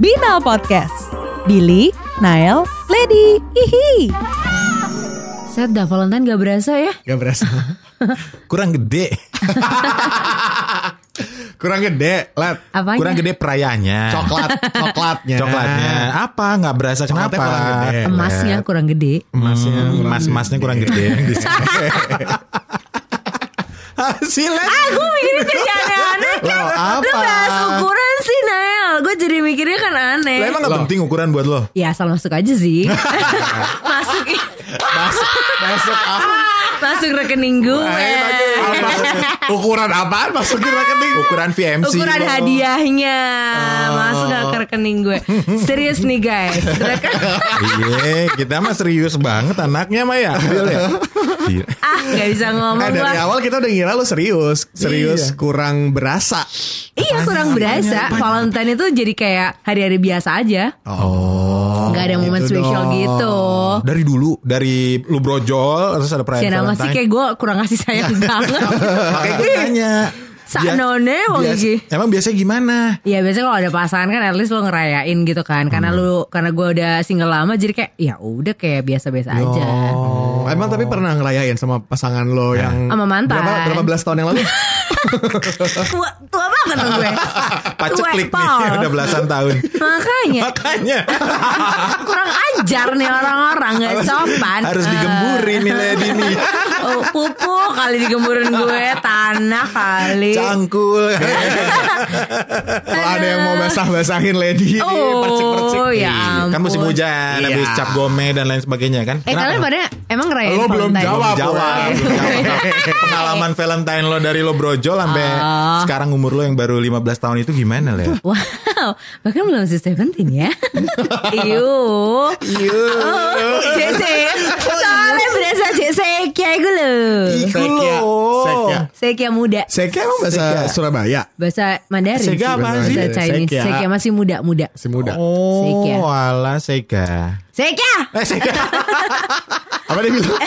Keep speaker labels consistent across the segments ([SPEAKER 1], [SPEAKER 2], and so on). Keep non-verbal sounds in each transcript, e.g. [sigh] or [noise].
[SPEAKER 1] Binal Podcast. Billy, Nael, Lady, hihi.
[SPEAKER 2] Set dah Valentine gak berasa ya
[SPEAKER 3] Gak berasa. Kurang gede. [laughs] Kurang gede, Let.
[SPEAKER 2] Apanya?
[SPEAKER 4] Kurang gede perayaannya.
[SPEAKER 3] Coklat, coklatnya.
[SPEAKER 4] Coklatnya. Apa? Nggak berasa
[SPEAKER 3] Coklatnya
[SPEAKER 4] kenapa?
[SPEAKER 3] kurang gede.
[SPEAKER 2] Emasnya kurang gede
[SPEAKER 3] Emasnya
[SPEAKER 4] Hmm,
[SPEAKER 3] kurang
[SPEAKER 4] Mas masnya kurang
[SPEAKER 3] [laughs]
[SPEAKER 4] gede. Hasilnya.
[SPEAKER 2] Gue mikirnya jadi
[SPEAKER 4] [laughs]
[SPEAKER 2] aneh-aneh
[SPEAKER 4] Lo
[SPEAKER 2] Lu
[SPEAKER 4] apa?
[SPEAKER 2] bahas ukuran sih Nael Gue jadi mikirnya kan aneh
[SPEAKER 4] Lo emang gak penting ukuran buat lo?
[SPEAKER 2] Ya asal masuk aja
[SPEAKER 4] [laughs]
[SPEAKER 2] sih Masuk
[SPEAKER 3] Masuk, Eh, masuk
[SPEAKER 2] Ah,
[SPEAKER 3] apa? Nah,
[SPEAKER 2] Masuk rekening gue
[SPEAKER 4] eh,
[SPEAKER 3] Apa? Ukuran apaan masukin rekening?
[SPEAKER 4] Ukuran VMC
[SPEAKER 2] Ukuran
[SPEAKER 4] lo.
[SPEAKER 2] hadiahnya
[SPEAKER 4] Oh.
[SPEAKER 2] Masuk gak ke rekening gue Serius nih guys
[SPEAKER 4] [laughs]
[SPEAKER 2] Reken-
[SPEAKER 4] Iya, kita mah serius banget anaknya mah ya. Bil
[SPEAKER 2] [laughs]
[SPEAKER 4] ya? Gila.
[SPEAKER 2] Ah gak bisa ngomong
[SPEAKER 3] Eh, dari
[SPEAKER 2] gue
[SPEAKER 3] awal kita udah ngira lu serius, serius
[SPEAKER 4] Iya.
[SPEAKER 3] kurang berasa.
[SPEAKER 2] Iya kurang berasa Valentine itu jadi kayak Hari-hari biasa aja
[SPEAKER 3] Oh,
[SPEAKER 2] Gak ada momen
[SPEAKER 3] gitu
[SPEAKER 2] spesial
[SPEAKER 3] dong.
[SPEAKER 2] gitu
[SPEAKER 4] Dari dulu, dari lu brojol terus ada perayaan
[SPEAKER 2] Siapa sih
[SPEAKER 4] Valentine. Iya.
[SPEAKER 2] kayak gitu? gue kurang ngasih sayang banget
[SPEAKER 4] [laughs] Makanya gue tanya. Bia-
[SPEAKER 2] Saknone wong
[SPEAKER 4] bias-
[SPEAKER 2] iki.
[SPEAKER 4] Emang biasanya gimana?
[SPEAKER 2] Iya biasanya kalau ada pasangan kan at least lo ngerayain gitu kan
[SPEAKER 4] Hmm.
[SPEAKER 2] Karena lu Karena gue udah single lama jadi kayak ya udah kayak biasa-biasa aja
[SPEAKER 3] Oh, emang tapi pernah ngerayain sama pasangan lo yang
[SPEAKER 2] Sama mantan.
[SPEAKER 3] berapa, berapa belas tahun yang
[SPEAKER 2] [laughs]
[SPEAKER 3] lalu?
[SPEAKER 2] Tua, tua banget dong
[SPEAKER 4] [laughs]
[SPEAKER 2] gue
[SPEAKER 4] Pacet
[SPEAKER 2] Tua,
[SPEAKER 4] klik
[SPEAKER 2] Paul.
[SPEAKER 4] nih, [laughs] udah belasan tahun. [laughs]
[SPEAKER 2] Makanya
[SPEAKER 4] Makanya
[SPEAKER 2] kurang ajar nih orang-orang Gak sopan
[SPEAKER 4] harus
[SPEAKER 2] Eh,
[SPEAKER 4] digemburi nih lady
[SPEAKER 2] [laughs]
[SPEAKER 4] nih.
[SPEAKER 2] oh, Pupu kali digemburin gue Tanah kali [laughs]
[SPEAKER 4] Cangkul.
[SPEAKER 3] Kalau ada yang mau basah-basahin lady ini, percik-percik.
[SPEAKER 2] Oh ya ampun
[SPEAKER 4] kan musim hujan,
[SPEAKER 3] Iya.
[SPEAKER 4] habis cap gome dan lain sebagainya kan.
[SPEAKER 2] Eh kalian pada emang ngerayain
[SPEAKER 3] Lo belum
[SPEAKER 2] iya, Valentine?
[SPEAKER 3] jawab.
[SPEAKER 4] Jawab.
[SPEAKER 3] Belum
[SPEAKER 2] [laughs]
[SPEAKER 3] [laughs]
[SPEAKER 4] Pengalaman Valentine lo dari lo brojol sampai
[SPEAKER 2] Ah.
[SPEAKER 4] sekarang umur lo yang baru 15 tahun itu gimana le?
[SPEAKER 2] Wow, bahkan belum si Seventeen ya. Iyo. Iyo. JC. Soalnya berasa JC kayak gue loh.
[SPEAKER 3] Sekia, sekia.
[SPEAKER 2] Sekia muda.
[SPEAKER 3] Sekia emang bahasa
[SPEAKER 4] Sekia.
[SPEAKER 3] Surabaya.
[SPEAKER 2] Bahasa Mandarin.
[SPEAKER 4] Sekia apaan sih?
[SPEAKER 2] Bahasa Chinese.
[SPEAKER 3] Sekia.
[SPEAKER 2] Sekia masih muda, muda.
[SPEAKER 3] Si muda.
[SPEAKER 2] Sega.
[SPEAKER 4] Oh, ala Sega.
[SPEAKER 2] Sekia.
[SPEAKER 4] Eh
[SPEAKER 2] [laughs]
[SPEAKER 4] Sega.
[SPEAKER 3] Apa dia bilang?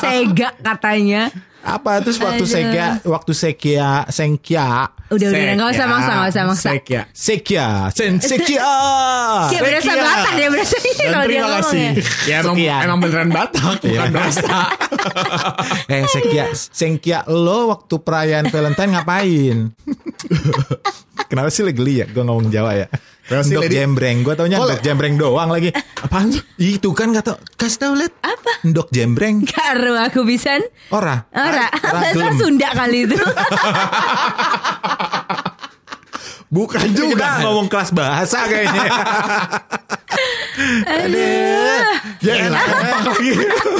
[SPEAKER 2] Sega katanya.
[SPEAKER 4] Apa terus waktu
[SPEAKER 2] Aduh.
[SPEAKER 4] Sega, waktu Sekia, Sengkia,
[SPEAKER 2] [laughs] Udah udah nggak usah maksa nggak usah maksa.
[SPEAKER 3] Sekia.
[SPEAKER 4] Sekia, Sen Sekia.
[SPEAKER 2] Kayak berasa
[SPEAKER 3] Sekia.
[SPEAKER 2] batang ya berasa
[SPEAKER 3] Dan
[SPEAKER 2] kalau dia
[SPEAKER 3] terima
[SPEAKER 2] ngomong
[SPEAKER 3] kasih.
[SPEAKER 2] ya.
[SPEAKER 3] Ya emang,
[SPEAKER 4] Sekian.
[SPEAKER 3] emang beneran Batak, bukan
[SPEAKER 4] Iya.
[SPEAKER 3] bahasa.
[SPEAKER 4] eh Sekia, Sengkia lo waktu perayaan Valentine ngapain? [laughs] Kenapa sih lo geli ya? Gue ngomong Jawa ya.
[SPEAKER 3] Kenapa sih,
[SPEAKER 4] Dok
[SPEAKER 3] Lady?
[SPEAKER 4] jembreng, gue taunya
[SPEAKER 3] Oh, le-
[SPEAKER 4] dok jembreng doang
[SPEAKER 2] [laughs]
[SPEAKER 4] lagi.
[SPEAKER 3] [laughs] Apaan tuh?
[SPEAKER 4] Itu kan gak tau, kasih tau liat. Apa? Dok jembreng.
[SPEAKER 2] Karo aku pisan.
[SPEAKER 4] Ora.
[SPEAKER 2] [laughs] Ora, bahasa
[SPEAKER 4] gelem.
[SPEAKER 2] Sunda kali itu.
[SPEAKER 3] Bukan
[SPEAKER 4] Kita
[SPEAKER 3] juga.
[SPEAKER 4] Kan ngomong kelas bahasa kayaknya. Aduh.
[SPEAKER 3] Ya elah, kompak lagi.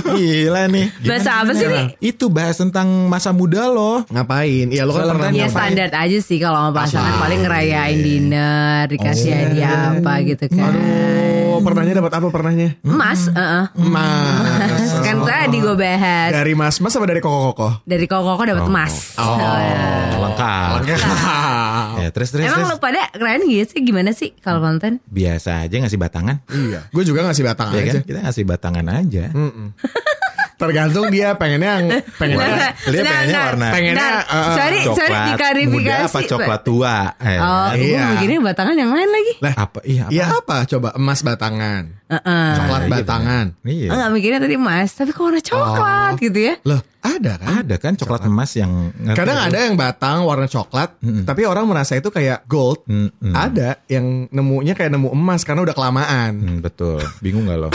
[SPEAKER 4] Gila nih.
[SPEAKER 2] Bahasa apa sih ini?
[SPEAKER 4] Itu bahas tentang masa muda lo.
[SPEAKER 3] Ngapain? Iya lo kan
[SPEAKER 4] Valentine
[SPEAKER 3] pernah
[SPEAKER 4] ya,
[SPEAKER 2] Ya
[SPEAKER 3] ngapain?
[SPEAKER 2] standar aja sih kalau sama pasangan paling ngerayain dinner, dikasih hadiah apa gitu kan.
[SPEAKER 3] Aduh, pernahnya dapat apa pernahnya?
[SPEAKER 2] Emas, heeh.
[SPEAKER 3] Mas. Iya.
[SPEAKER 2] Kan tadi gue bahas
[SPEAKER 3] Dari Mas Mas apa dari Koko Koko?
[SPEAKER 2] dari koko-koko Oh, dapat
[SPEAKER 3] Oh.
[SPEAKER 2] emas.
[SPEAKER 4] Lengkap. Ya, terus terus.
[SPEAKER 2] iya. Emang
[SPEAKER 4] terus.
[SPEAKER 2] lu pada ngerayain gitu sih gimana sih kalau Valentine?
[SPEAKER 4] Biasa aja ngasih batangan.
[SPEAKER 3] Iya. Gue juga ngasih batang
[SPEAKER 4] Ya kan?
[SPEAKER 3] aja.
[SPEAKER 4] Kita ngasih batangan aja.
[SPEAKER 3] Tergantung dia pengennya
[SPEAKER 2] [laughs]
[SPEAKER 3] yang pengennya.
[SPEAKER 2] Nah,
[SPEAKER 4] Dia
[SPEAKER 2] nah,
[SPEAKER 4] pengennya
[SPEAKER 2] nah,
[SPEAKER 4] warna.
[SPEAKER 3] Pengennya,
[SPEAKER 2] nah,
[SPEAKER 3] eh,
[SPEAKER 2] sorry, sorry
[SPEAKER 4] muda
[SPEAKER 2] diklarifikasi.
[SPEAKER 4] apa coklat tua? Eh,
[SPEAKER 2] Oh,
[SPEAKER 3] Iya.
[SPEAKER 2] gue begini batangan yang lain lagi.
[SPEAKER 3] Lah,
[SPEAKER 4] Apa? Iya. Apa?
[SPEAKER 3] Iya apa? Coba emas batangan,
[SPEAKER 2] Heeh.
[SPEAKER 3] coklat
[SPEAKER 4] Iya,
[SPEAKER 3] batangan.
[SPEAKER 4] Iya.
[SPEAKER 2] Enggak mikirnya tadi emas, tapi kok warna coklat
[SPEAKER 3] Oh.
[SPEAKER 2] gitu ya.
[SPEAKER 3] Loh, ada kan?
[SPEAKER 4] Ada kan coklat emas yang
[SPEAKER 3] Kadang ada yang batang warna coklat, tapi orang merasa itu kayak gold.
[SPEAKER 4] Mm-mm.
[SPEAKER 3] Ada yang nemunya kayak nemu emas karena udah kelamaan.
[SPEAKER 4] Hmm, betul. Bingung gak [laughs] lo?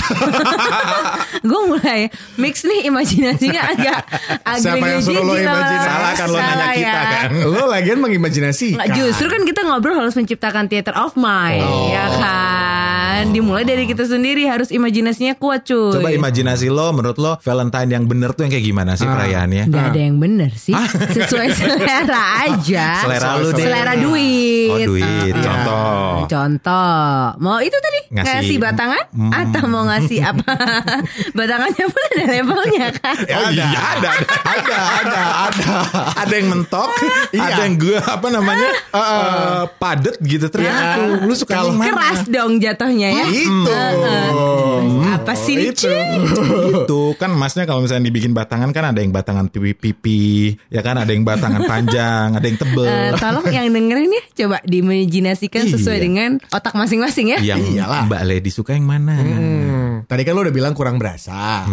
[SPEAKER 2] Gue mulai mix nih imajinasinya agak agak
[SPEAKER 3] Siapa yang suruh lo imajinasi?
[SPEAKER 4] Salah kan lo nanya
[SPEAKER 2] ya.
[SPEAKER 4] kita kan.
[SPEAKER 3] [laughs] Lo lagian mengimajinasi.
[SPEAKER 2] Nggak, justru kan kita ngobrol harus menciptakan theater of mind,
[SPEAKER 4] Oh.
[SPEAKER 2] ya kan? Dimulai dari kita sendiri harus imajinasinya kuat cuy.
[SPEAKER 4] Coba imajinasi lo, menurut lo Valentine yang bener tuh yang kayak gimana
[SPEAKER 2] Ah.
[SPEAKER 4] sih perayaannya?
[SPEAKER 2] Nggak ada yang bener sih,
[SPEAKER 4] [laughs]
[SPEAKER 2] sesuai selera aja.
[SPEAKER 4] Selera lu deh.
[SPEAKER 2] selera duit.
[SPEAKER 4] Oh duit,
[SPEAKER 2] Ah, ah.
[SPEAKER 4] contoh.
[SPEAKER 2] Contoh, mau itu tadi ngasih,
[SPEAKER 4] Ngasih- Hmm.
[SPEAKER 2] batangan atau mau ngasih
[SPEAKER 4] [laughs]
[SPEAKER 2] apa? Batangannya pun ada levelnya kan.
[SPEAKER 4] Oh iya ada, ada, ada, ada, ada, Ada yang
[SPEAKER 2] [laughs]
[SPEAKER 4] mentok,
[SPEAKER 2] Iya.
[SPEAKER 4] ada yang
[SPEAKER 2] Ah.
[SPEAKER 4] gue apa namanya eh, padet gitu ternyata. Lu suka yang
[SPEAKER 2] Iya.
[SPEAKER 4] mana? Iya.
[SPEAKER 2] Keras dong jatuhnya itunya ya.
[SPEAKER 3] Itu.
[SPEAKER 2] Apa sih ini,
[SPEAKER 3] Itu.
[SPEAKER 4] itu kan emasnya kalau misalnya dibikin batangan kan ada yang batangan pipi pipi ya kan ada yang batangan
[SPEAKER 2] [laughs]
[SPEAKER 4] panjang ada yang tebel
[SPEAKER 2] Eh, tolong yang dengerin ya coba diimajinasikan sesuai
[SPEAKER 4] Iya.
[SPEAKER 2] dengan otak masing-masing ya.
[SPEAKER 4] yang
[SPEAKER 3] iyalah.
[SPEAKER 4] mbak lady suka yang mana
[SPEAKER 3] Hmm, Tadi kan lo udah bilang kurang berasa.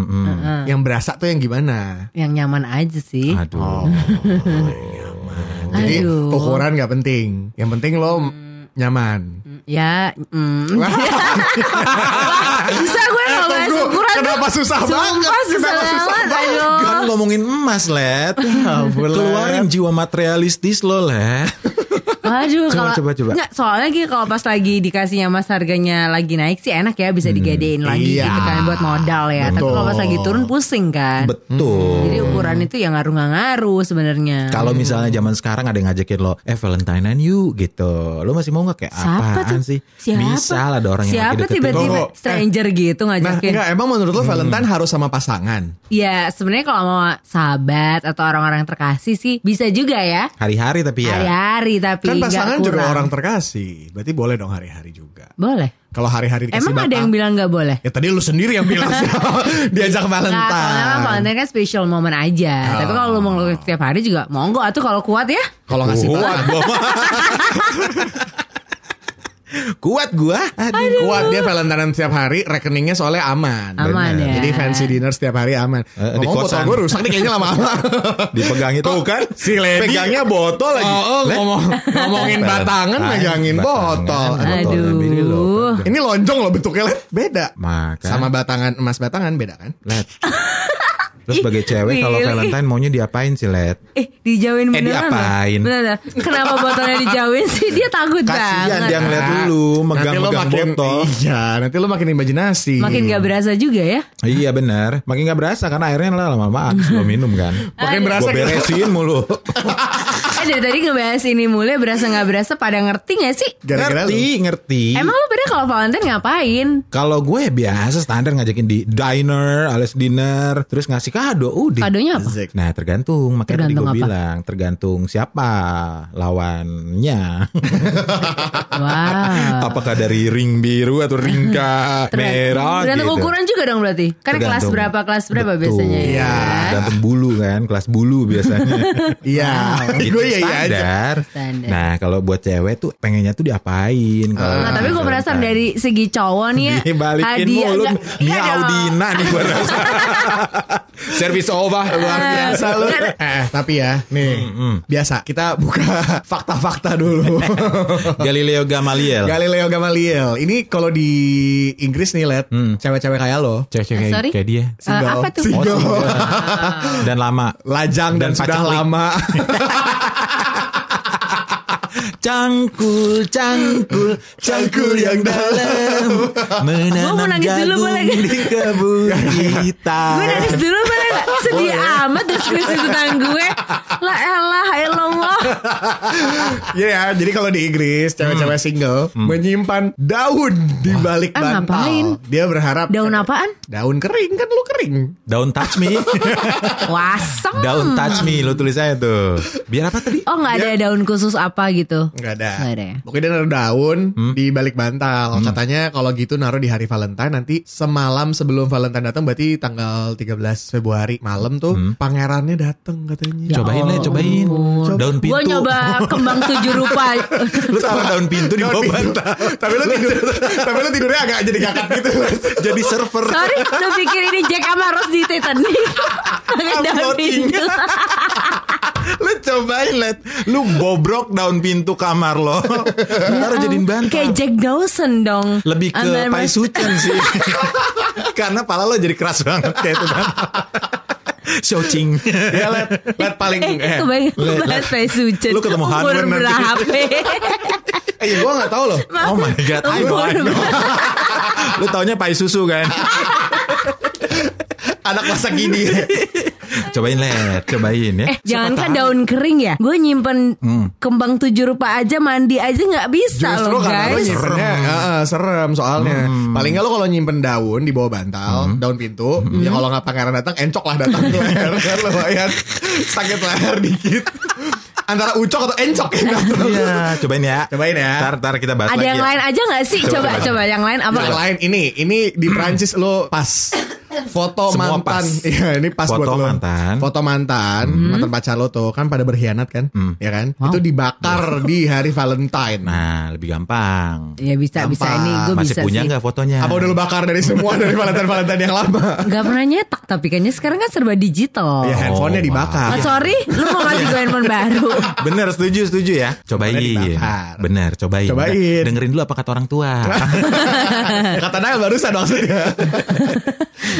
[SPEAKER 3] Yang berasa tuh yang gimana?
[SPEAKER 2] Yang nyaman aja sih.
[SPEAKER 4] aduh [laughs] Iya.
[SPEAKER 3] Jadi
[SPEAKER 2] Aduh. Hmm.
[SPEAKER 3] ukuran nggak penting. Yang penting lo nyaman.
[SPEAKER 2] Ya, mm. [laughs]
[SPEAKER 3] Wah.
[SPEAKER 2] susah gue
[SPEAKER 3] Eh,
[SPEAKER 2] kalau bahas
[SPEAKER 3] tunggu.
[SPEAKER 2] ukuran tuh.
[SPEAKER 3] Kenapa susah
[SPEAKER 2] Sumpah
[SPEAKER 3] banget?
[SPEAKER 2] susah
[SPEAKER 3] Kenapa susah
[SPEAKER 2] banget.
[SPEAKER 3] banget?
[SPEAKER 2] Aduh.
[SPEAKER 4] kan ngomongin emas
[SPEAKER 2] [laughs]
[SPEAKER 4] let
[SPEAKER 2] Ya
[SPEAKER 4] keluarin jiwa materialistis lo let
[SPEAKER 2] Aduh, kalau
[SPEAKER 4] Coba, coba, coba.
[SPEAKER 2] Nggak, soalnya gitu kalau pas lagi dikasihnya mas harganya lagi naik sih enak ya bisa digadein lagi
[SPEAKER 3] iya.
[SPEAKER 2] gitu kan buat modal ya. Tapi kalau pas lagi turun pusing kan.
[SPEAKER 4] betul
[SPEAKER 2] Jadi ukuran itu ya ngaruh nggak ngaruh sebenarnya.
[SPEAKER 4] Kalau misalnya zaman sekarang ada yang ngajakin lo, eh Valentinean you gitu. Lo masih mau gak kayak
[SPEAKER 2] Siapa
[SPEAKER 4] apaan
[SPEAKER 2] tuh?
[SPEAKER 4] sih?
[SPEAKER 2] Siapa?
[SPEAKER 4] Bisa lah ada orang yang
[SPEAKER 2] Siapa
[SPEAKER 4] lagi deketin lo.
[SPEAKER 2] tiba-tiba
[SPEAKER 3] Tunggu.
[SPEAKER 2] stranger gitu
[SPEAKER 3] Nah,
[SPEAKER 2] ngajakin?
[SPEAKER 3] enggak, emang menurut lo Valentine harus sama pasangan?
[SPEAKER 2] Ya sebenarnya kalau mau sahabat atau orang-orang terkasih sih bisa juga ya.
[SPEAKER 4] Hari-hari tapi ya.
[SPEAKER 2] Hari-hari tapi
[SPEAKER 3] Kan
[SPEAKER 2] nggak
[SPEAKER 3] pasangan juga
[SPEAKER 2] kurang.
[SPEAKER 3] orang terkasih. Berarti boleh dong hari-hari juga.
[SPEAKER 2] Boleh.
[SPEAKER 3] Kalau hari-hari dikasih
[SPEAKER 2] Emang ada
[SPEAKER 3] batang-
[SPEAKER 2] yang bilang nggak boleh?
[SPEAKER 3] Ya tadi lu sendiri yang
[SPEAKER 2] [laughs]
[SPEAKER 3] bilang [laughs] sih.
[SPEAKER 2] Nah, kalau
[SPEAKER 3] diajak
[SPEAKER 2] memang
[SPEAKER 3] Valentine.
[SPEAKER 2] Valentine kan special moment aja. Tapi kalau lu mau ngelakuin setiap hari juga monggo atuh kalau kuat ya.
[SPEAKER 3] Kalau ngasih
[SPEAKER 4] Kuat
[SPEAKER 3] batang, [laughs]
[SPEAKER 4] gua mah. Kuat gua. Aduh.
[SPEAKER 3] kuat dia Valentine setiap hari, rekeningnya soalnya aman.
[SPEAKER 2] Aman
[SPEAKER 3] Bener.
[SPEAKER 2] ya.
[SPEAKER 3] Jadi fancy dinner setiap hari aman.
[SPEAKER 4] Eh, di
[SPEAKER 3] Ngomong
[SPEAKER 4] kosan.
[SPEAKER 3] botol gue rusak nih kayaknya lama-lama.
[SPEAKER 4] [laughs] Dipegang itu
[SPEAKER 3] Tuh kan, si lady.
[SPEAKER 4] Pegangnya botol lagi.
[SPEAKER 3] Oh, oh,
[SPEAKER 4] Let.
[SPEAKER 3] ngomong, ngomongin batangan, megangin botol.
[SPEAKER 4] Batangan,
[SPEAKER 2] Aduh.
[SPEAKER 4] botolnya biri lo.
[SPEAKER 3] Ini lonjong loh bentuknya, Let. Beda.
[SPEAKER 4] Maka.
[SPEAKER 3] Sama batangan, emas batangan beda kan?
[SPEAKER 4] Let. Terus sebagai cewek kalau
[SPEAKER 2] Willy.
[SPEAKER 4] Valentine maunya diapain sih, Let?
[SPEAKER 2] Eh dijauhin
[SPEAKER 4] Eh,
[SPEAKER 2] beneran. loh.
[SPEAKER 4] diapain?
[SPEAKER 2] Beneran. Kenapa botolnya dijauhin sih? Dia takut
[SPEAKER 4] Kasihan
[SPEAKER 2] banget.
[SPEAKER 4] dia ngeliat lu
[SPEAKER 3] Ah, Nanti lo
[SPEAKER 4] megang-megang
[SPEAKER 3] makin,
[SPEAKER 4] botol.
[SPEAKER 3] Iya, nanti lo makin imajinasi.
[SPEAKER 2] Makin gak berasa juga ya.
[SPEAKER 4] Iya benar, makin nggak berasa karena airnya lah lama-lama habis lo minum kan.
[SPEAKER 3] Makin berasa
[SPEAKER 4] Gue
[SPEAKER 3] gitu.
[SPEAKER 4] beresin mulu.
[SPEAKER 3] [laughs]
[SPEAKER 2] Eh dari tadi ngebahas ini mulai berasa nggak berasa pada ngerti gak sih?
[SPEAKER 3] Gara-gara
[SPEAKER 4] ngerti,
[SPEAKER 3] lu.
[SPEAKER 4] ngerti.
[SPEAKER 2] Emang lu pada kalau Valentine ngapain?
[SPEAKER 4] Kalau gue ya biasa standar ngajakin di diner alias dinner, terus ngasih kado udah.
[SPEAKER 2] Kadonya
[SPEAKER 4] [laughs]
[SPEAKER 2] apa?
[SPEAKER 3] Zek.
[SPEAKER 4] Nah tergantung Makanya tadi
[SPEAKER 2] Tergantung
[SPEAKER 4] gue
[SPEAKER 2] apa?
[SPEAKER 4] bilang Tergantung siapa Lawannya
[SPEAKER 2] Wow.
[SPEAKER 4] [laughs] Apakah dari ring biru
[SPEAKER 2] [laughs]
[SPEAKER 4] Atau ringka merah
[SPEAKER 2] Tergantung
[SPEAKER 4] gitu
[SPEAKER 2] ukuran juga dong berarti. Karena kelas
[SPEAKER 4] Tergantung.
[SPEAKER 2] berapa kelas berapa
[SPEAKER 4] Betul.
[SPEAKER 2] biasanya ya.
[SPEAKER 3] Iya.
[SPEAKER 4] Tergantung bulu kan Kelas bulu
[SPEAKER 3] [laughs]
[SPEAKER 4] biasanya
[SPEAKER 3] Iya, [laughs]
[SPEAKER 4] Itu
[SPEAKER 3] gue iya iya aja.
[SPEAKER 4] Gitu standar.
[SPEAKER 2] Standar.
[SPEAKER 4] Nah kalau buat cewek tuh pengennya tuh diapain? Kalau
[SPEAKER 2] Nah, tapi gue
[SPEAKER 4] Valentine.
[SPEAKER 2] penasaran dari segi cowok nih ya.
[SPEAKER 4] Ah, [laughs] Dibalikin mulut
[SPEAKER 2] nggak- nggak
[SPEAKER 4] Mia
[SPEAKER 2] Iya, dong.
[SPEAKER 4] Audina nih gue
[SPEAKER 2] [laughs]
[SPEAKER 4] rasa. Servis over luar biasa.
[SPEAKER 3] Biasa lu.
[SPEAKER 2] Kan-
[SPEAKER 3] Eh, tapi ya, nih.
[SPEAKER 4] Hmm,
[SPEAKER 3] Biasa, kita buka [laughs] fakta-fakta
[SPEAKER 4] [laughs]
[SPEAKER 3] dulu.
[SPEAKER 4] Galileo Gamaliel.
[SPEAKER 3] Galileo Gamaliel. Ini kalau di Inggris nih, Let.
[SPEAKER 4] Hmm.
[SPEAKER 3] Cewek-cewek kayak lo.
[SPEAKER 4] Cewek-cewek
[SPEAKER 2] Eh, sorry.
[SPEAKER 4] Ya,
[SPEAKER 2] Ah.
[SPEAKER 4] kayak dia.
[SPEAKER 2] Eh,
[SPEAKER 3] Single.
[SPEAKER 2] apa tuh?
[SPEAKER 3] Single.
[SPEAKER 4] Oh, Dan lama.
[SPEAKER 3] Lajang dan,
[SPEAKER 4] Dan
[SPEAKER 3] sudah
[SPEAKER 4] paceklik.
[SPEAKER 3] lama.
[SPEAKER 4] [laughs] Cangkul, cangkul, cangkul yang dalam.
[SPEAKER 2] Gua mau
[SPEAKER 4] [laughs] Menanam
[SPEAKER 2] nangis dulu,
[SPEAKER 4] jagung
[SPEAKER 2] boleh nggak?
[SPEAKER 4] di
[SPEAKER 2] [laughs]
[SPEAKER 4] kebun kita.
[SPEAKER 2] Gue nangis dulu boleh gak? Sedih amat deskripsi tentang gue La elah illallah
[SPEAKER 3] Iya ya, jadi kalau di Inggris cewek-cewek single menyimpan daun di balik
[SPEAKER 2] Ah,
[SPEAKER 3] bantal.
[SPEAKER 2] ngapain?
[SPEAKER 3] Dia berharap
[SPEAKER 2] Daun apaan?
[SPEAKER 3] Daun kering kan lu kering.
[SPEAKER 4] Don't touch
[SPEAKER 2] [laughs]
[SPEAKER 4] me.
[SPEAKER 2] Wasem
[SPEAKER 4] Don't touch me. Lo tulis aja tuh. Biar apa tadi?
[SPEAKER 2] Oh gak ada daun khusus apa gitu
[SPEAKER 3] Enggak ada.
[SPEAKER 2] Nggak ada ya?
[SPEAKER 3] Pokoknya dia naruh daun di balik bantal. Katanya kalau gitu naruh di hari Valentine nanti semalam sebelum Valentine datang berarti tanggal 13 Februari malam tuh pangerannya datang katanya.
[SPEAKER 4] Cobain lah, cobain. Daun pintu.
[SPEAKER 2] Gue Ya nyoba kembang tujuh rupa
[SPEAKER 4] Lu taruh daun pintu di bawah bantal. Gitu.
[SPEAKER 3] tapi lu tidur, tapi lu tidurnya agak jadi kakak gitu.
[SPEAKER 4] Jadi server.
[SPEAKER 2] Sorry lu pikir ini Jack sama Rose di Titanic Pakai daun pintu
[SPEAKER 4] lu cobain let lu bobrok daun pintu kamar lo ntar jadiin
[SPEAKER 2] Kayak
[SPEAKER 4] bantal
[SPEAKER 2] Jack Dawson dong
[SPEAKER 4] lebih
[SPEAKER 2] Ambil
[SPEAKER 4] ke
[SPEAKER 2] mas-
[SPEAKER 4] paisucen
[SPEAKER 2] [laughs]
[SPEAKER 4] sih karena pala lo jadi keras banget kayak itu kan Shouting
[SPEAKER 3] ya let, let paling
[SPEAKER 2] Eh,
[SPEAKER 3] eh.
[SPEAKER 2] kebayang
[SPEAKER 4] ya? le- le-
[SPEAKER 2] bahas Pai Sucen
[SPEAKER 4] Lu ketemu Han
[SPEAKER 2] Umur
[SPEAKER 4] Wen nanti. [laughs]
[SPEAKER 2] berapa
[SPEAKER 3] Eh, gua enggak tahu loh.
[SPEAKER 4] oh my god I know, I know. [laughs] lu taunya pai susu kan
[SPEAKER 3] Anak masa kini.
[SPEAKER 4] cobain let cobain ya
[SPEAKER 2] Eh, [laughs] jangan kan daun kering ya? Gue nyimpen kembang tujuh rupa aja mandi aja nggak bisa
[SPEAKER 3] Justru
[SPEAKER 2] loh
[SPEAKER 3] karena lo
[SPEAKER 2] guys.
[SPEAKER 3] nyimpennya serem, serem soalnya.
[SPEAKER 4] Hmm.
[SPEAKER 3] Paling nggak lo kalau nyimpen daun di bawah bantal, daun pintu,
[SPEAKER 4] Hmm.
[SPEAKER 3] ya kalau
[SPEAKER 4] [laughs] Iya.
[SPEAKER 3] ya nggak pangeran datang, encok lah datang ke leher, kan lumayan sakit leher dikit. antara ucok atau encok ya kan? yang datang.
[SPEAKER 4] Iya, cobain ya.
[SPEAKER 3] Cobain ya.
[SPEAKER 4] Ntar, ntar kita
[SPEAKER 2] Ada
[SPEAKER 4] bahas lagi
[SPEAKER 2] yang
[SPEAKER 4] ya.
[SPEAKER 2] lain aja nggak sih? Coba, coba, yang lain apa?
[SPEAKER 3] Yang lain ini, ini di Prancis lo pas foto
[SPEAKER 4] Semua
[SPEAKER 3] mantan.
[SPEAKER 4] pas.
[SPEAKER 3] Iya, ini pas
[SPEAKER 4] Foto
[SPEAKER 3] buat lo.
[SPEAKER 4] mantan.
[SPEAKER 3] Foto mantan, mantan pacar lo tuh kan pada berkhianat kan?
[SPEAKER 4] Hmm.
[SPEAKER 3] Ya kan? Itu dibakar di hari Valentine.
[SPEAKER 4] Nah, lebih gampang.
[SPEAKER 2] Ya bisa, bisa
[SPEAKER 3] Gampang.
[SPEAKER 2] ini gue
[SPEAKER 4] Masih
[SPEAKER 2] bisa
[SPEAKER 4] punya
[SPEAKER 2] sih.
[SPEAKER 4] nggak fotonya?
[SPEAKER 3] Apa udah lo bakar dari semua dari Valentine Valentine yang lama?
[SPEAKER 2] Gak pernah nyetak tapi kayaknya sekarang kan serba
[SPEAKER 4] Oh.
[SPEAKER 2] digital.
[SPEAKER 3] Ya handphonenya
[SPEAKER 4] wow.
[SPEAKER 3] dibakar.
[SPEAKER 2] Oh, sorry, lu mau ngasih gue handphone baru.
[SPEAKER 4] Bener, setuju, setuju ya. Cobain.
[SPEAKER 3] dibakar.
[SPEAKER 4] Bener, cobain.
[SPEAKER 3] Cobain.
[SPEAKER 4] Dengerin dulu apa kata orang tua.
[SPEAKER 3] [laughs] Kata Nail barusan maksudnya.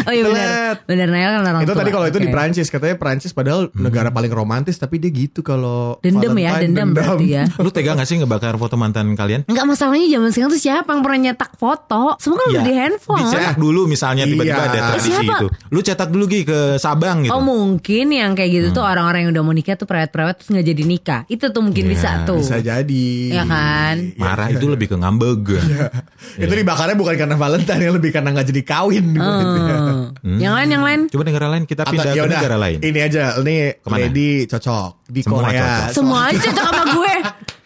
[SPEAKER 2] Oh iya benar. Benar Nail kan orang
[SPEAKER 3] itu
[SPEAKER 2] tua.
[SPEAKER 3] tadi kalau itu
[SPEAKER 2] Oke.
[SPEAKER 3] di
[SPEAKER 2] Hmm.
[SPEAKER 3] Prancis katanya Prancis padahal negara paling romantis tapi dia gitu kalau
[SPEAKER 2] Dendam ya,
[SPEAKER 3] Valentine,
[SPEAKER 2] dendam berarti ya.
[SPEAKER 4] Lu tega gak sih ngebakar foto mantan kalian?
[SPEAKER 2] Enggak masalahnya zaman sekarang tuh siapa yang pernah nyetak foto? Semua kan
[SPEAKER 4] Iya.
[SPEAKER 2] udah di handphone.
[SPEAKER 4] Ya, Dicetak dulu misalnya tiba-tiba
[SPEAKER 3] Iya.
[SPEAKER 4] ada tradisi
[SPEAKER 2] Siapa?
[SPEAKER 4] itu. Lu cetak dulu Gi ke Sabang gitu.
[SPEAKER 2] Oh mungkin yang kayak gitu
[SPEAKER 3] Hmm.
[SPEAKER 2] tuh orang-orang yang udah mau nikah tuh prewet-prewet terus nggak jadi nikah. Itu tuh mungkin
[SPEAKER 4] Iya,
[SPEAKER 2] bisa tuh.
[SPEAKER 3] [laughs] bisa jadi
[SPEAKER 2] Iya kan?
[SPEAKER 4] Marah itu lebih ke ngambek. iya.
[SPEAKER 3] itu dibakarnya bukan karena Valentine yang lebih karena nggak jadi kawin Gitu. ya.
[SPEAKER 2] Eh. Yang lain yang lain.
[SPEAKER 4] Coba negara lain kita pindah ke
[SPEAKER 3] yaudah,
[SPEAKER 4] negara lain.
[SPEAKER 3] ya ini aja ini
[SPEAKER 4] Kemana?
[SPEAKER 3] lady cocok di
[SPEAKER 4] Semua
[SPEAKER 3] Korea
[SPEAKER 4] cocok.
[SPEAKER 2] Semua aja cocok
[SPEAKER 3] [laughs]
[SPEAKER 2] sama gue.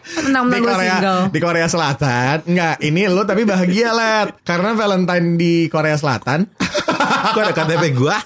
[SPEAKER 2] Tentang
[SPEAKER 3] di
[SPEAKER 2] tentang gue
[SPEAKER 3] Korea
[SPEAKER 2] single.
[SPEAKER 3] di Korea Selatan enggak ini lo tapi bahagia lah karena Valentine di Korea Selatan
[SPEAKER 4] [laughs]
[SPEAKER 3] [laughs]
[SPEAKER 4] Kok ada KTP gua?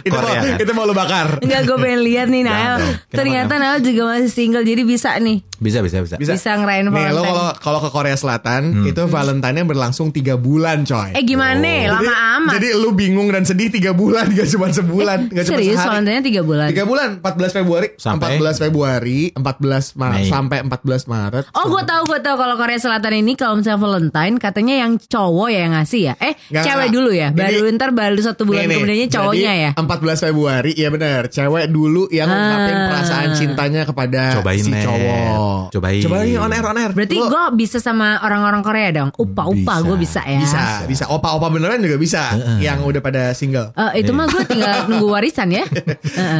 [SPEAKER 3] itu
[SPEAKER 4] Korea.
[SPEAKER 3] mau itu mau lo bakar
[SPEAKER 2] Enggak gue pengen lihat nih Nael.
[SPEAKER 4] dong. Kenapa,
[SPEAKER 2] Ternyata Nael juga masih single jadi bisa nih.
[SPEAKER 4] Bisa, bisa, bisa.
[SPEAKER 3] Bisa.
[SPEAKER 2] Bisa ngerayain
[SPEAKER 3] Nih lo
[SPEAKER 2] Valentine.
[SPEAKER 3] kalau kalau ke Korea Selatan
[SPEAKER 4] Hmm.
[SPEAKER 3] itu Valentine berlangsung tiga bulan coy.
[SPEAKER 2] Eh gimana? Lama amat.
[SPEAKER 3] Oh. Jadi lu bingung dan sedih tiga bulan [laughs] gak cuma sebulan, gak cuma
[SPEAKER 2] Eh, Serius
[SPEAKER 3] sehari.
[SPEAKER 2] Valentine tiga bulan.
[SPEAKER 3] Tiga bulan, 14 Februari,
[SPEAKER 4] Sampai?
[SPEAKER 3] 14 Februari, 14 Maret
[SPEAKER 4] Mei.
[SPEAKER 3] sampai 14 Maret.
[SPEAKER 2] Oh gue tahu gue tahu kalau Korea Selatan ini kalau misalnya Valentine katanya yang cowok ya yang ngasih ya eh
[SPEAKER 3] Nggak,
[SPEAKER 2] cewek
[SPEAKER 3] nggak.
[SPEAKER 2] dulu ya baru
[SPEAKER 3] Jadi-
[SPEAKER 2] ntar baru satu bulan
[SPEAKER 3] Nih, nih.
[SPEAKER 2] kemudiannya cowoknya
[SPEAKER 3] Jadi,
[SPEAKER 2] ya Ah.
[SPEAKER 3] 14 Februari, iya benar. Cewek dulu yang ngungkapin perasaan cintanya kepada
[SPEAKER 4] Cobain,
[SPEAKER 3] si
[SPEAKER 4] Ner.
[SPEAKER 3] cowok.
[SPEAKER 4] Cobain.
[SPEAKER 3] Cobain on air on air.
[SPEAKER 2] berarti
[SPEAKER 3] Lu
[SPEAKER 2] gue bisa sama orang-orang Korea dong upa upa
[SPEAKER 4] Bisa.
[SPEAKER 2] gue bisa ya
[SPEAKER 3] bisa, bisa. Opa-opa beneran juga bisa yang udah pada single.
[SPEAKER 2] Eh, itu mah gue
[SPEAKER 3] [laughs]
[SPEAKER 2] tinggal nunggu warisan ya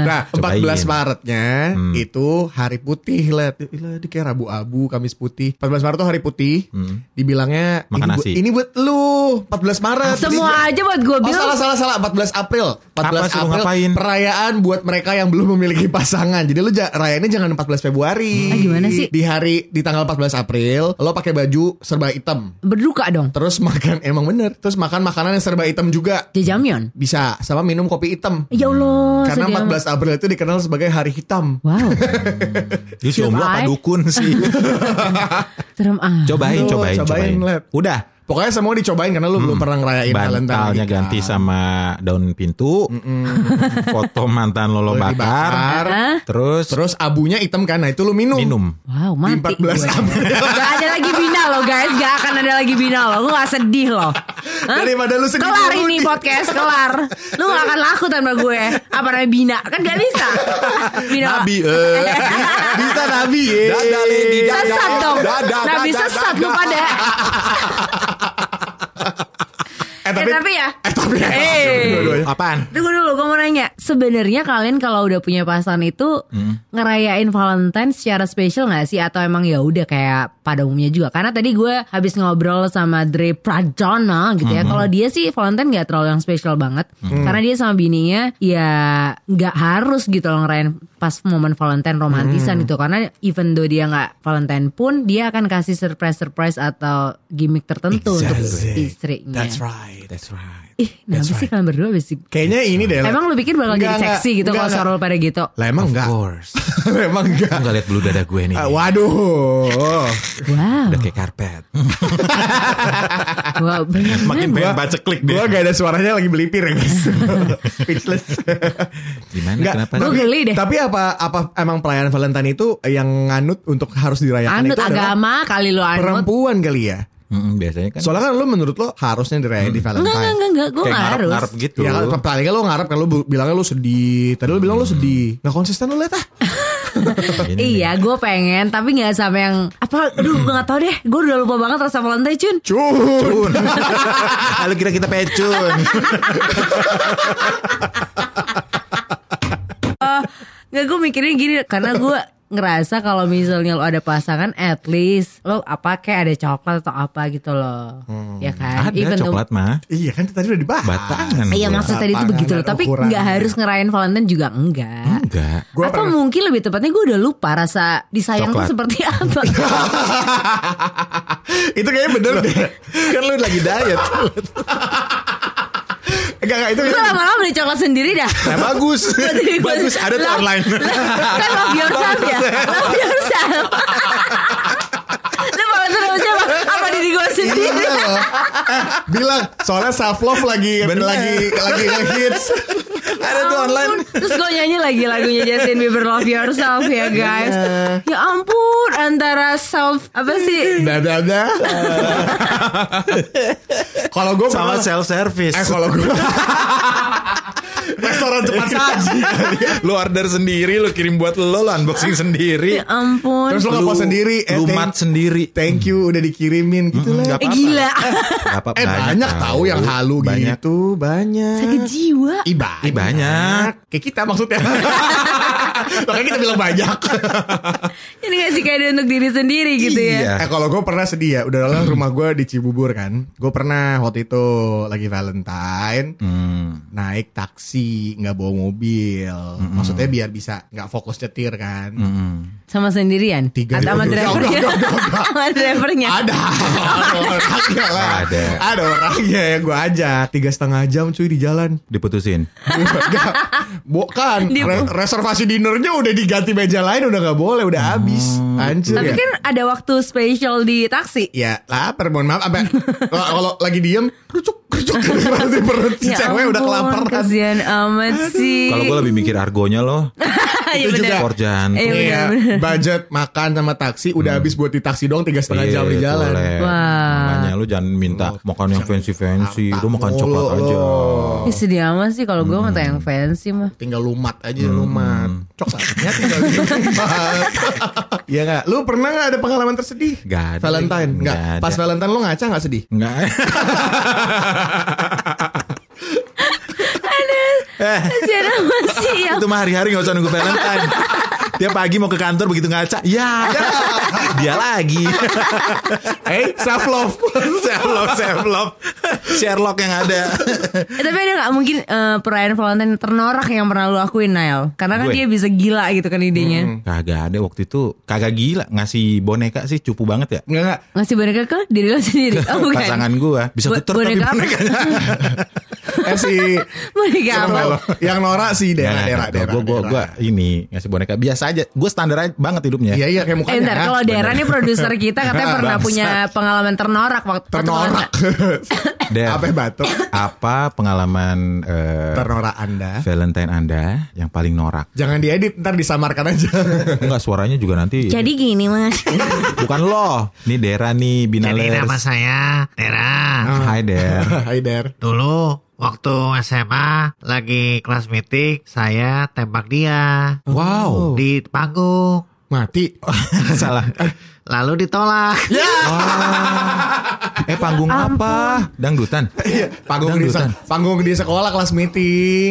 [SPEAKER 3] Nah, 14
[SPEAKER 4] Cobain.
[SPEAKER 3] Maretnya
[SPEAKER 4] Hmm.
[SPEAKER 3] itu hari putih, Let. Ilah, dia kayak Rabu Abu, Kamis putih. 14 Maret tuh hari putih. Dibilangnya
[SPEAKER 4] Hmm. Makan
[SPEAKER 3] ini, buat,
[SPEAKER 4] nasi.
[SPEAKER 3] ini buat lu 14 Maret. Terus
[SPEAKER 2] Ah, semua aja buat gue
[SPEAKER 3] dia- Oh
[SPEAKER 2] bilang
[SPEAKER 3] salah salah salah 14 April 14
[SPEAKER 4] Apa sih lu
[SPEAKER 3] April
[SPEAKER 4] ngapain?
[SPEAKER 3] perayaan buat mereka yang belum memiliki pasangan Jadi lu ja- rayainnya jangan 14 Februari
[SPEAKER 2] Ah, gimana sih?
[SPEAKER 3] Di hari di tanggal 14 April Lo pakai baju serba hitam
[SPEAKER 2] berduka dong
[SPEAKER 3] Terus makan emang bener Terus makan makanan yang serba hitam juga
[SPEAKER 2] jajamion
[SPEAKER 3] Bisa sama minum kopi hitam
[SPEAKER 2] ya Allah
[SPEAKER 3] Hmm. Karena
[SPEAKER 2] sedih amat.
[SPEAKER 3] 14 April itu dikenal sebagai hari hitam
[SPEAKER 2] wow
[SPEAKER 4] Lu jomblo apa
[SPEAKER 2] Cobain.
[SPEAKER 4] dukun sih?
[SPEAKER 2] serem
[SPEAKER 3] [laughs]
[SPEAKER 2] ah
[SPEAKER 4] cobain,
[SPEAKER 3] Aduh, cobain,
[SPEAKER 4] cobain, cobain.
[SPEAKER 3] Let.
[SPEAKER 4] Udah.
[SPEAKER 3] Pokoknya semua dicobain karena lu belum pernah ngerayain Valentine.
[SPEAKER 4] Hmm. Bantalnya
[SPEAKER 3] Dika.
[SPEAKER 4] ganti sama daun pintu. [laughs] Foto mantan
[SPEAKER 3] Lalu
[SPEAKER 4] lolo bakar.
[SPEAKER 3] dibakar.
[SPEAKER 4] Terus
[SPEAKER 3] Terus abunya hitam kan, nah itu lu minum.
[SPEAKER 4] minum.
[SPEAKER 2] Wow, mati
[SPEAKER 3] Di 14
[SPEAKER 2] gue.
[SPEAKER 3] April.
[SPEAKER 2] Gak ada lagi bina loh guys, gak akan ada lagi bina loh. Lu gak sedih
[SPEAKER 3] [laughs]
[SPEAKER 2] loh. Hah?
[SPEAKER 3] Daripada lu sedih
[SPEAKER 2] Kelar
[SPEAKER 3] dulu,
[SPEAKER 2] ini
[SPEAKER 3] Di.
[SPEAKER 2] podcast, kelar. Lu gak akan laku tanpa gue. Apa namanya bina? Kan gak
[SPEAKER 3] [laughs]
[SPEAKER 2] bisa. Bina.
[SPEAKER 4] Nabi.
[SPEAKER 2] [laughs]
[SPEAKER 4] eh.
[SPEAKER 3] Bisa nabi ye.
[SPEAKER 4] Dadah, Lady,
[SPEAKER 3] Ya,
[SPEAKER 4] dadah.
[SPEAKER 2] Sesat dong.
[SPEAKER 4] Dadah,
[SPEAKER 2] Nabi
[SPEAKER 4] dadah,
[SPEAKER 2] sesat
[SPEAKER 4] dadah.
[SPEAKER 2] lu pada.
[SPEAKER 3] Eh
[SPEAKER 2] Eh
[SPEAKER 3] tapi,
[SPEAKER 2] tapi ya.
[SPEAKER 3] eh tapi ya.
[SPEAKER 2] Eh.
[SPEAKER 3] Dua-duanya.
[SPEAKER 4] Apaan?
[SPEAKER 2] Tunggu dulu, gue mau nanya. Sebenarnya kalian kalau udah punya pasangan itu
[SPEAKER 3] Hmm.
[SPEAKER 2] ngerayain Valentine secara spesial nggak sih? Atau emang ya udah kayak pada umumnya juga? Karena tadi gue habis ngobrol sama Dre Pradana gitu ya.
[SPEAKER 3] Hmm.
[SPEAKER 2] Kalau dia sih Valentine nggak terlalu yang spesial banget, karena dia sama bininya ya nggak harus gitu loh ngerayain pas momen Valentine romantisan gitu. Karena even though dia nggak Valentine pun dia akan kasih surprise surprise atau gimmick tertentu untuk
[SPEAKER 3] Exactly.
[SPEAKER 2] istrinya.
[SPEAKER 3] That's right.
[SPEAKER 4] That's right.
[SPEAKER 2] Ih, kenapa sih kalian berdua basic
[SPEAKER 3] Kayaknya ini deh. Let.
[SPEAKER 2] Emang lu pikir bakal
[SPEAKER 3] Iya. Enggak,
[SPEAKER 2] jadi seksi
[SPEAKER 3] enggak,
[SPEAKER 2] gitu
[SPEAKER 3] enggak,
[SPEAKER 2] kalau
[SPEAKER 3] enggak.
[SPEAKER 2] sarul pada gitu?
[SPEAKER 3] Lah emang enggak.
[SPEAKER 4] Of course.
[SPEAKER 3] [laughs] emang enggak.
[SPEAKER 4] Enggak lihat bulu dada gue nih.
[SPEAKER 3] Ah, waduh.
[SPEAKER 2] Wow.
[SPEAKER 4] Udah kayak karpet.
[SPEAKER 2] wow banyak
[SPEAKER 4] [laughs] Makin
[SPEAKER 2] banget.
[SPEAKER 4] pengen baca klik
[SPEAKER 3] Gue
[SPEAKER 4] dia.
[SPEAKER 3] gak ada suaranya lagi melipir ya guys. [laughs] Speechless.
[SPEAKER 4] Gimana?
[SPEAKER 3] Nggak,
[SPEAKER 4] Kenapa?
[SPEAKER 2] Gua
[SPEAKER 3] tapi-
[SPEAKER 2] geli deh.
[SPEAKER 3] Tapi apa apa emang perayaan Valentine itu yang nganut untuk harus dirayakan
[SPEAKER 2] Anut
[SPEAKER 3] itu adalah
[SPEAKER 2] agama kali lu anut.
[SPEAKER 3] perempuan kali ya.
[SPEAKER 4] Mm-mm, biasanya kan. Hmm.
[SPEAKER 3] Soalnya kan lu menurut lo harusnya dirayain di Valentine.
[SPEAKER 2] Enggak, enggak, enggak, enggak. Gue
[SPEAKER 4] kayak
[SPEAKER 2] gak harus.
[SPEAKER 4] ngarep-ngarep gitu.
[SPEAKER 3] Ya kan palingnya lu ngarep kan lu bu- bilangnya lu sedih. Tadi lu bilang lu sedih. Nggak konsisten lu lihat ah.
[SPEAKER 4] Ini nih.
[SPEAKER 2] Iya, gue pengen, tapi nggak sampai yang apa? Aduh, gue nggak tahu deh. Gue udah lupa banget rasa Valentine, Cun.
[SPEAKER 3] Cun.
[SPEAKER 4] Cun. [laughs] Lalu kira kita [laughs] pecun.
[SPEAKER 2] Eh, Nggak, gue mikirnya gini karena gue ngerasa kalau misalnya lo ada pasangan at least lo apa kayak ada coklat atau apa gitu loh.
[SPEAKER 3] Hmm.
[SPEAKER 2] Ya kan?
[SPEAKER 4] Ada
[SPEAKER 2] Even though-
[SPEAKER 4] coklat mah.
[SPEAKER 3] [laughs] Iya kan tadi udah dibahas.
[SPEAKER 4] Batangan.
[SPEAKER 2] Iya
[SPEAKER 4] gua.
[SPEAKER 2] maksud tadi itu
[SPEAKER 3] Lapangan
[SPEAKER 2] begitu loh
[SPEAKER 3] dan
[SPEAKER 2] Tapi
[SPEAKER 3] ukuran. gitu.
[SPEAKER 2] nggak harus ngerayain Valentine juga enggak
[SPEAKER 4] Enggak.
[SPEAKER 3] Gua
[SPEAKER 2] Atau
[SPEAKER 3] pernah-
[SPEAKER 2] mungkin lebih tepatnya gue udah lupa rasa disayang
[SPEAKER 4] Coklat.
[SPEAKER 2] tuh seperti apa
[SPEAKER 3] itu kayaknya bener deh.
[SPEAKER 4] [laughs] kan lu lagi diet.
[SPEAKER 3] Enggak enggak itu.
[SPEAKER 2] Gue lama-lama beli coklat sendiri dah
[SPEAKER 4] Nah,
[SPEAKER 2] [laughs]
[SPEAKER 4] bagus. bagus ada tuh
[SPEAKER 2] Love-
[SPEAKER 4] online.
[SPEAKER 2] love- Kan love yourself ya Love yourself Lu Valentine sama siapa? Apa diri gue sendiri
[SPEAKER 3] Iya loh. Eh, bilang soalnya self love lagi
[SPEAKER 4] Bener.
[SPEAKER 3] lagi lagi ngehits.
[SPEAKER 4] ada tuh online.
[SPEAKER 2] Terus gue nyanyi lagi lagunya Justin Bieber Love Yourself ya guys Ya ampun Antara self Apa sih
[SPEAKER 3] Dadah
[SPEAKER 4] [laughs]
[SPEAKER 3] dadah. Kalau gue
[SPEAKER 4] Sama self service.
[SPEAKER 3] Eh kalau Iya. gue
[SPEAKER 4] [laughs]
[SPEAKER 3] restoran cepat saji.
[SPEAKER 4] [laughs] lu order sendiri, lu kirim buat lo, lu unboxing sendiri.
[SPEAKER 2] Ya ampun
[SPEAKER 3] Terus lo ngepost sendiri, eh,
[SPEAKER 4] lu
[SPEAKER 3] thank-
[SPEAKER 4] mat sendiri.
[SPEAKER 3] Thank you udah dikirimin gitu lah.
[SPEAKER 4] Nggak
[SPEAKER 2] Eh,
[SPEAKER 4] apa-apa.
[SPEAKER 2] Gila [laughs]
[SPEAKER 4] Nggak apa-apa,
[SPEAKER 3] Eh banyak tahu yang halu
[SPEAKER 4] banyak.
[SPEAKER 3] gitu, banyak.
[SPEAKER 2] Sakit jiwa
[SPEAKER 3] Ih banyak.
[SPEAKER 4] Ih, banyak.
[SPEAKER 3] Kayak kita
[SPEAKER 4] [laughs]
[SPEAKER 3] maksudnya. Makanya kita bilang banyak.
[SPEAKER 2] Ini ngasih kado untuk diri sendiri gitu ya.
[SPEAKER 4] Iya.
[SPEAKER 3] eh kalau gue pernah sedih ya, udah lah rumah gue di Cibubur kan. Gue pernah waktu itu lagi Valentine
[SPEAKER 4] Hmm.
[SPEAKER 3] naik taksi nggak bawa mobil. Maksudnya biar bisa nggak fokus nyetir kan.
[SPEAKER 4] hmm.
[SPEAKER 2] Sama sendirian.
[SPEAKER 3] Tiga
[SPEAKER 2] Atau sama
[SPEAKER 3] ribu.
[SPEAKER 2] drivernya. [laughs] Sama drivernya. [laughs]
[SPEAKER 3] Ada, ada orangnya lah.
[SPEAKER 4] Ada.
[SPEAKER 3] ada iya, orangnya yang gue ajak tiga setengah jam cuy di jalan.
[SPEAKER 4] Diputusin.
[SPEAKER 3] Enggak. Bukan Re- reservasi dinernya udah diganti meja lain udah nggak boleh
[SPEAKER 4] Hmm.
[SPEAKER 3] udah habis anjir
[SPEAKER 2] Tapi
[SPEAKER 3] ya.
[SPEAKER 2] kan ada waktu spesial di taksi.
[SPEAKER 3] ya lapar mohon maaf apa kalau kalau lagi diem kerucuk
[SPEAKER 2] [laughs]
[SPEAKER 3] kerucuk berarti perut si cewek udah
[SPEAKER 2] Ya ampun,
[SPEAKER 3] kelaparan
[SPEAKER 2] Kasihan amat sih.
[SPEAKER 4] Kalau gue lebih mikir argonya loh.
[SPEAKER 2] [laughs] Iya,
[SPEAKER 3] itu
[SPEAKER 2] bener.
[SPEAKER 3] juga.
[SPEAKER 4] Korjan.
[SPEAKER 2] Eh,
[SPEAKER 3] Iya,
[SPEAKER 2] bener, bener.
[SPEAKER 3] budget makan sama taksi udah habis buat di taksi doang tiga setengah jam di
[SPEAKER 4] Hmm. Iya,
[SPEAKER 3] jalan. Oh,
[SPEAKER 4] boleh.
[SPEAKER 2] Wah.
[SPEAKER 4] Makanya lu jangan minta makan yang fancy-fancy.
[SPEAKER 3] Harta
[SPEAKER 4] Lu makan
[SPEAKER 3] mulu
[SPEAKER 4] coklat
[SPEAKER 3] lo.
[SPEAKER 4] aja.
[SPEAKER 3] oh.
[SPEAKER 2] Ih, sedih amat sih kalau gue minta yang fancy
[SPEAKER 3] [laughs]
[SPEAKER 2] mah.
[SPEAKER 3] Tinggal lumat aja
[SPEAKER 4] Hmm.
[SPEAKER 3] lumat. Coklatnya tinggal
[SPEAKER 4] [laughs]
[SPEAKER 3] dilumat. Iya nggak? Lu pernah nggak ada pengalaman tersedih?
[SPEAKER 4] Nggak ada.
[SPEAKER 3] Valentine nggak?
[SPEAKER 4] Nggak ada.
[SPEAKER 3] Pas Valentine lu ngaca nggak
[SPEAKER 4] [laughs]
[SPEAKER 3] sedih?
[SPEAKER 4] Enggak.
[SPEAKER 2] Ya. Kasihan amat sih ya.
[SPEAKER 4] Itu mah hari-hari gak usah nunggu Valentine.
[SPEAKER 3] [laughs]
[SPEAKER 4] Tiap pagi mau ke kantor begitu ngaca. Ya. Dia lagi.
[SPEAKER 3] [laughs] Eh, self love.
[SPEAKER 4] Self love, self love. Sherlock yang ada.
[SPEAKER 2] Eh, Tapi ada gak mungkin eh, perayaan Valentine ternorak yang pernah lu lakuin Nail? Karena kan
[SPEAKER 4] Gue.
[SPEAKER 2] dia bisa gila gitu kan
[SPEAKER 3] Hmm.
[SPEAKER 2] idenya.
[SPEAKER 4] Kagak ada waktu itu. Kagak gila ngasih boneka sih cupu banget ya.
[SPEAKER 3] Enggak enggak.
[SPEAKER 2] Ngasih boneka ke diri lo
[SPEAKER 3] [laughs]
[SPEAKER 2] sendiri. Oh bukan.
[SPEAKER 4] Pasangan gua bisa
[SPEAKER 2] Bo-
[SPEAKER 4] getar tapi
[SPEAKER 2] boneka apa?
[SPEAKER 4] bonekanya.
[SPEAKER 3] Eh si
[SPEAKER 2] Boneka apa? Eh,
[SPEAKER 3] Siapa? yang Nora si Dera Dera Dera.
[SPEAKER 4] Gue gue
[SPEAKER 3] Dera.
[SPEAKER 4] gue ini ngasih boneka biasa aja. Gue standar aja banget hidupnya.
[SPEAKER 3] Iya iya kayak
[SPEAKER 2] Eh,
[SPEAKER 3] mukanya.
[SPEAKER 2] ntar kalau Dera nih produser kita
[SPEAKER 3] [laughs]
[SPEAKER 2] katanya pernah punya pengalaman ternorak waktu waktu
[SPEAKER 4] [laughs]
[SPEAKER 3] ternorak.
[SPEAKER 4] Der,
[SPEAKER 3] Apa ya, batuk?
[SPEAKER 4] apa pengalaman eh,
[SPEAKER 3] Ternorak Anda.
[SPEAKER 4] Valentine Anda yang paling norak?
[SPEAKER 3] Jangan diedit ntar disamarkan
[SPEAKER 4] [laughs]
[SPEAKER 3] aja.
[SPEAKER 4] Enggak suaranya juga nanti.
[SPEAKER 2] Jadi gini mas
[SPEAKER 4] bukan lo. Nih Dera nih
[SPEAKER 5] Jadi
[SPEAKER 4] Binalers.
[SPEAKER 5] nama saya Tera.
[SPEAKER 4] Hai Der.
[SPEAKER 3] Hai Der.
[SPEAKER 5] Dulu waktu SMA lagi kelas meeting saya tembak dia
[SPEAKER 4] Oh. Wow.
[SPEAKER 5] di panggung
[SPEAKER 4] [laughs]
[SPEAKER 3] Mati.
[SPEAKER 4] Salah.
[SPEAKER 5] lalu ditolak.
[SPEAKER 4] Eh panggung apa? Dangdutan.
[SPEAKER 3] Iya, panggung di
[SPEAKER 4] Dangdutan.
[SPEAKER 3] panggung di sekolah kelas meeting.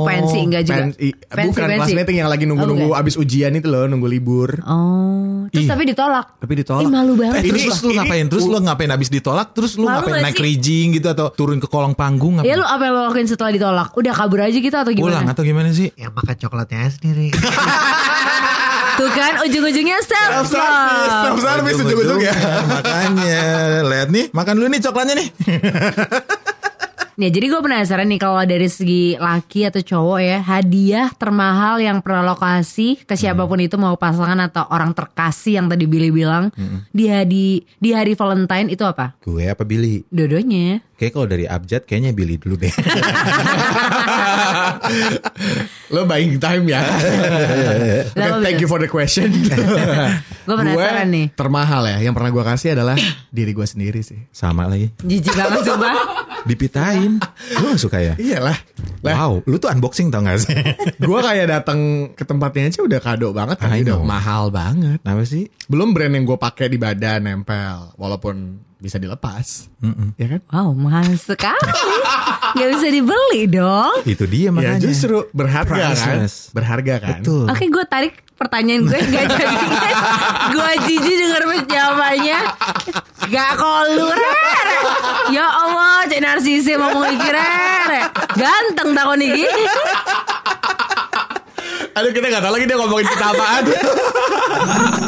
[SPEAKER 2] Oh pensi enggak juga
[SPEAKER 3] Pen- i- bukan kelas meeting yang lagi nunggu-nunggu
[SPEAKER 2] Oh, bukan.
[SPEAKER 3] abis ujian itu loh, nunggu libur.
[SPEAKER 2] Oh Terus
[SPEAKER 4] Ih.
[SPEAKER 2] tapi ditolak
[SPEAKER 3] Tapi ditolak.
[SPEAKER 2] Ih, malu banget.
[SPEAKER 4] Eh,
[SPEAKER 3] Ini-
[SPEAKER 4] terus, terus lu
[SPEAKER 3] ini-
[SPEAKER 4] ngapain? Terus lu ngapain abis ditolak? Terus lu
[SPEAKER 2] Malu
[SPEAKER 4] ngapain
[SPEAKER 2] gak
[SPEAKER 4] naik
[SPEAKER 2] sih?
[SPEAKER 4] rijing gitu atau turun ke kolong
[SPEAKER 2] Ya
[SPEAKER 4] panggung ngapain?
[SPEAKER 2] lu apa yang lo lakuin setelah ditolak Udah kabur aja kita atau
[SPEAKER 4] Pulang
[SPEAKER 2] gimana
[SPEAKER 4] atau gimana sih?
[SPEAKER 5] Yang makan coklatnya sendiri.
[SPEAKER 2] Tuh kan ujung-ujungnya self
[SPEAKER 3] Self-service,
[SPEAKER 2] love
[SPEAKER 3] self-service ujung-ujung ya.
[SPEAKER 4] [laughs] Makanya lihat nih, makan dulu nih coklatnya nih. [laughs]
[SPEAKER 2] Nih jadi gue penasaran nih Kalau dari segi laki atau cowok ya Hadiah termahal yang pernah lo kasih Ke siapapun itu Mau pasangan atau orang terkasih Yang tadi Billy bilang di, hari, di hari Valentine itu apa?
[SPEAKER 4] Gue apa Billy?
[SPEAKER 2] Dodonya
[SPEAKER 4] Kayak kalau dari abjad kayaknya Billy dulu deh. [laughs]
[SPEAKER 3] Lo buying time [laughs] ya. Oke,
[SPEAKER 2] Lah,
[SPEAKER 3] thank you for the [laughs] question.
[SPEAKER 2] Gue penasaran nih.
[SPEAKER 3] Termahal ya, yang pernah gue kasih [coughs] adalah diri gue sendiri sih.
[SPEAKER 4] Sama lagi.
[SPEAKER 2] Jijik banget sumpah
[SPEAKER 4] Dipitain. Lu gak suka ya?
[SPEAKER 3] Iyalah. Iya Lah,
[SPEAKER 4] Wow, lu tuh unboxing tau gak sih? [laughs]
[SPEAKER 3] gue kayak datang ke tempatnya aja udah kado banget,
[SPEAKER 4] I
[SPEAKER 3] tapi udah
[SPEAKER 4] know.
[SPEAKER 3] mahal banget.
[SPEAKER 4] Apa sih?
[SPEAKER 3] Belum brand yang gue pakai di badan nempel, walaupun bisa dilepas, ya kan?
[SPEAKER 2] Wow mahal sekali Gak bisa dibeli dong.
[SPEAKER 4] Itu
[SPEAKER 3] Ya
[SPEAKER 4] dia makanya.
[SPEAKER 3] justru berharga
[SPEAKER 4] Priceless.
[SPEAKER 3] kan. Berharga kan.
[SPEAKER 4] Betul.
[SPEAKER 2] Oke gue tarik pertanyaan gue gak jadi guys. Gue jijik denger jawabannya Gak kolurer Ya Allah cek narsisi mau mikirer Ganteng takon ini
[SPEAKER 4] [laughs]
[SPEAKER 3] Aduh kita gak tahu lagi dia ngomongin kita apaan.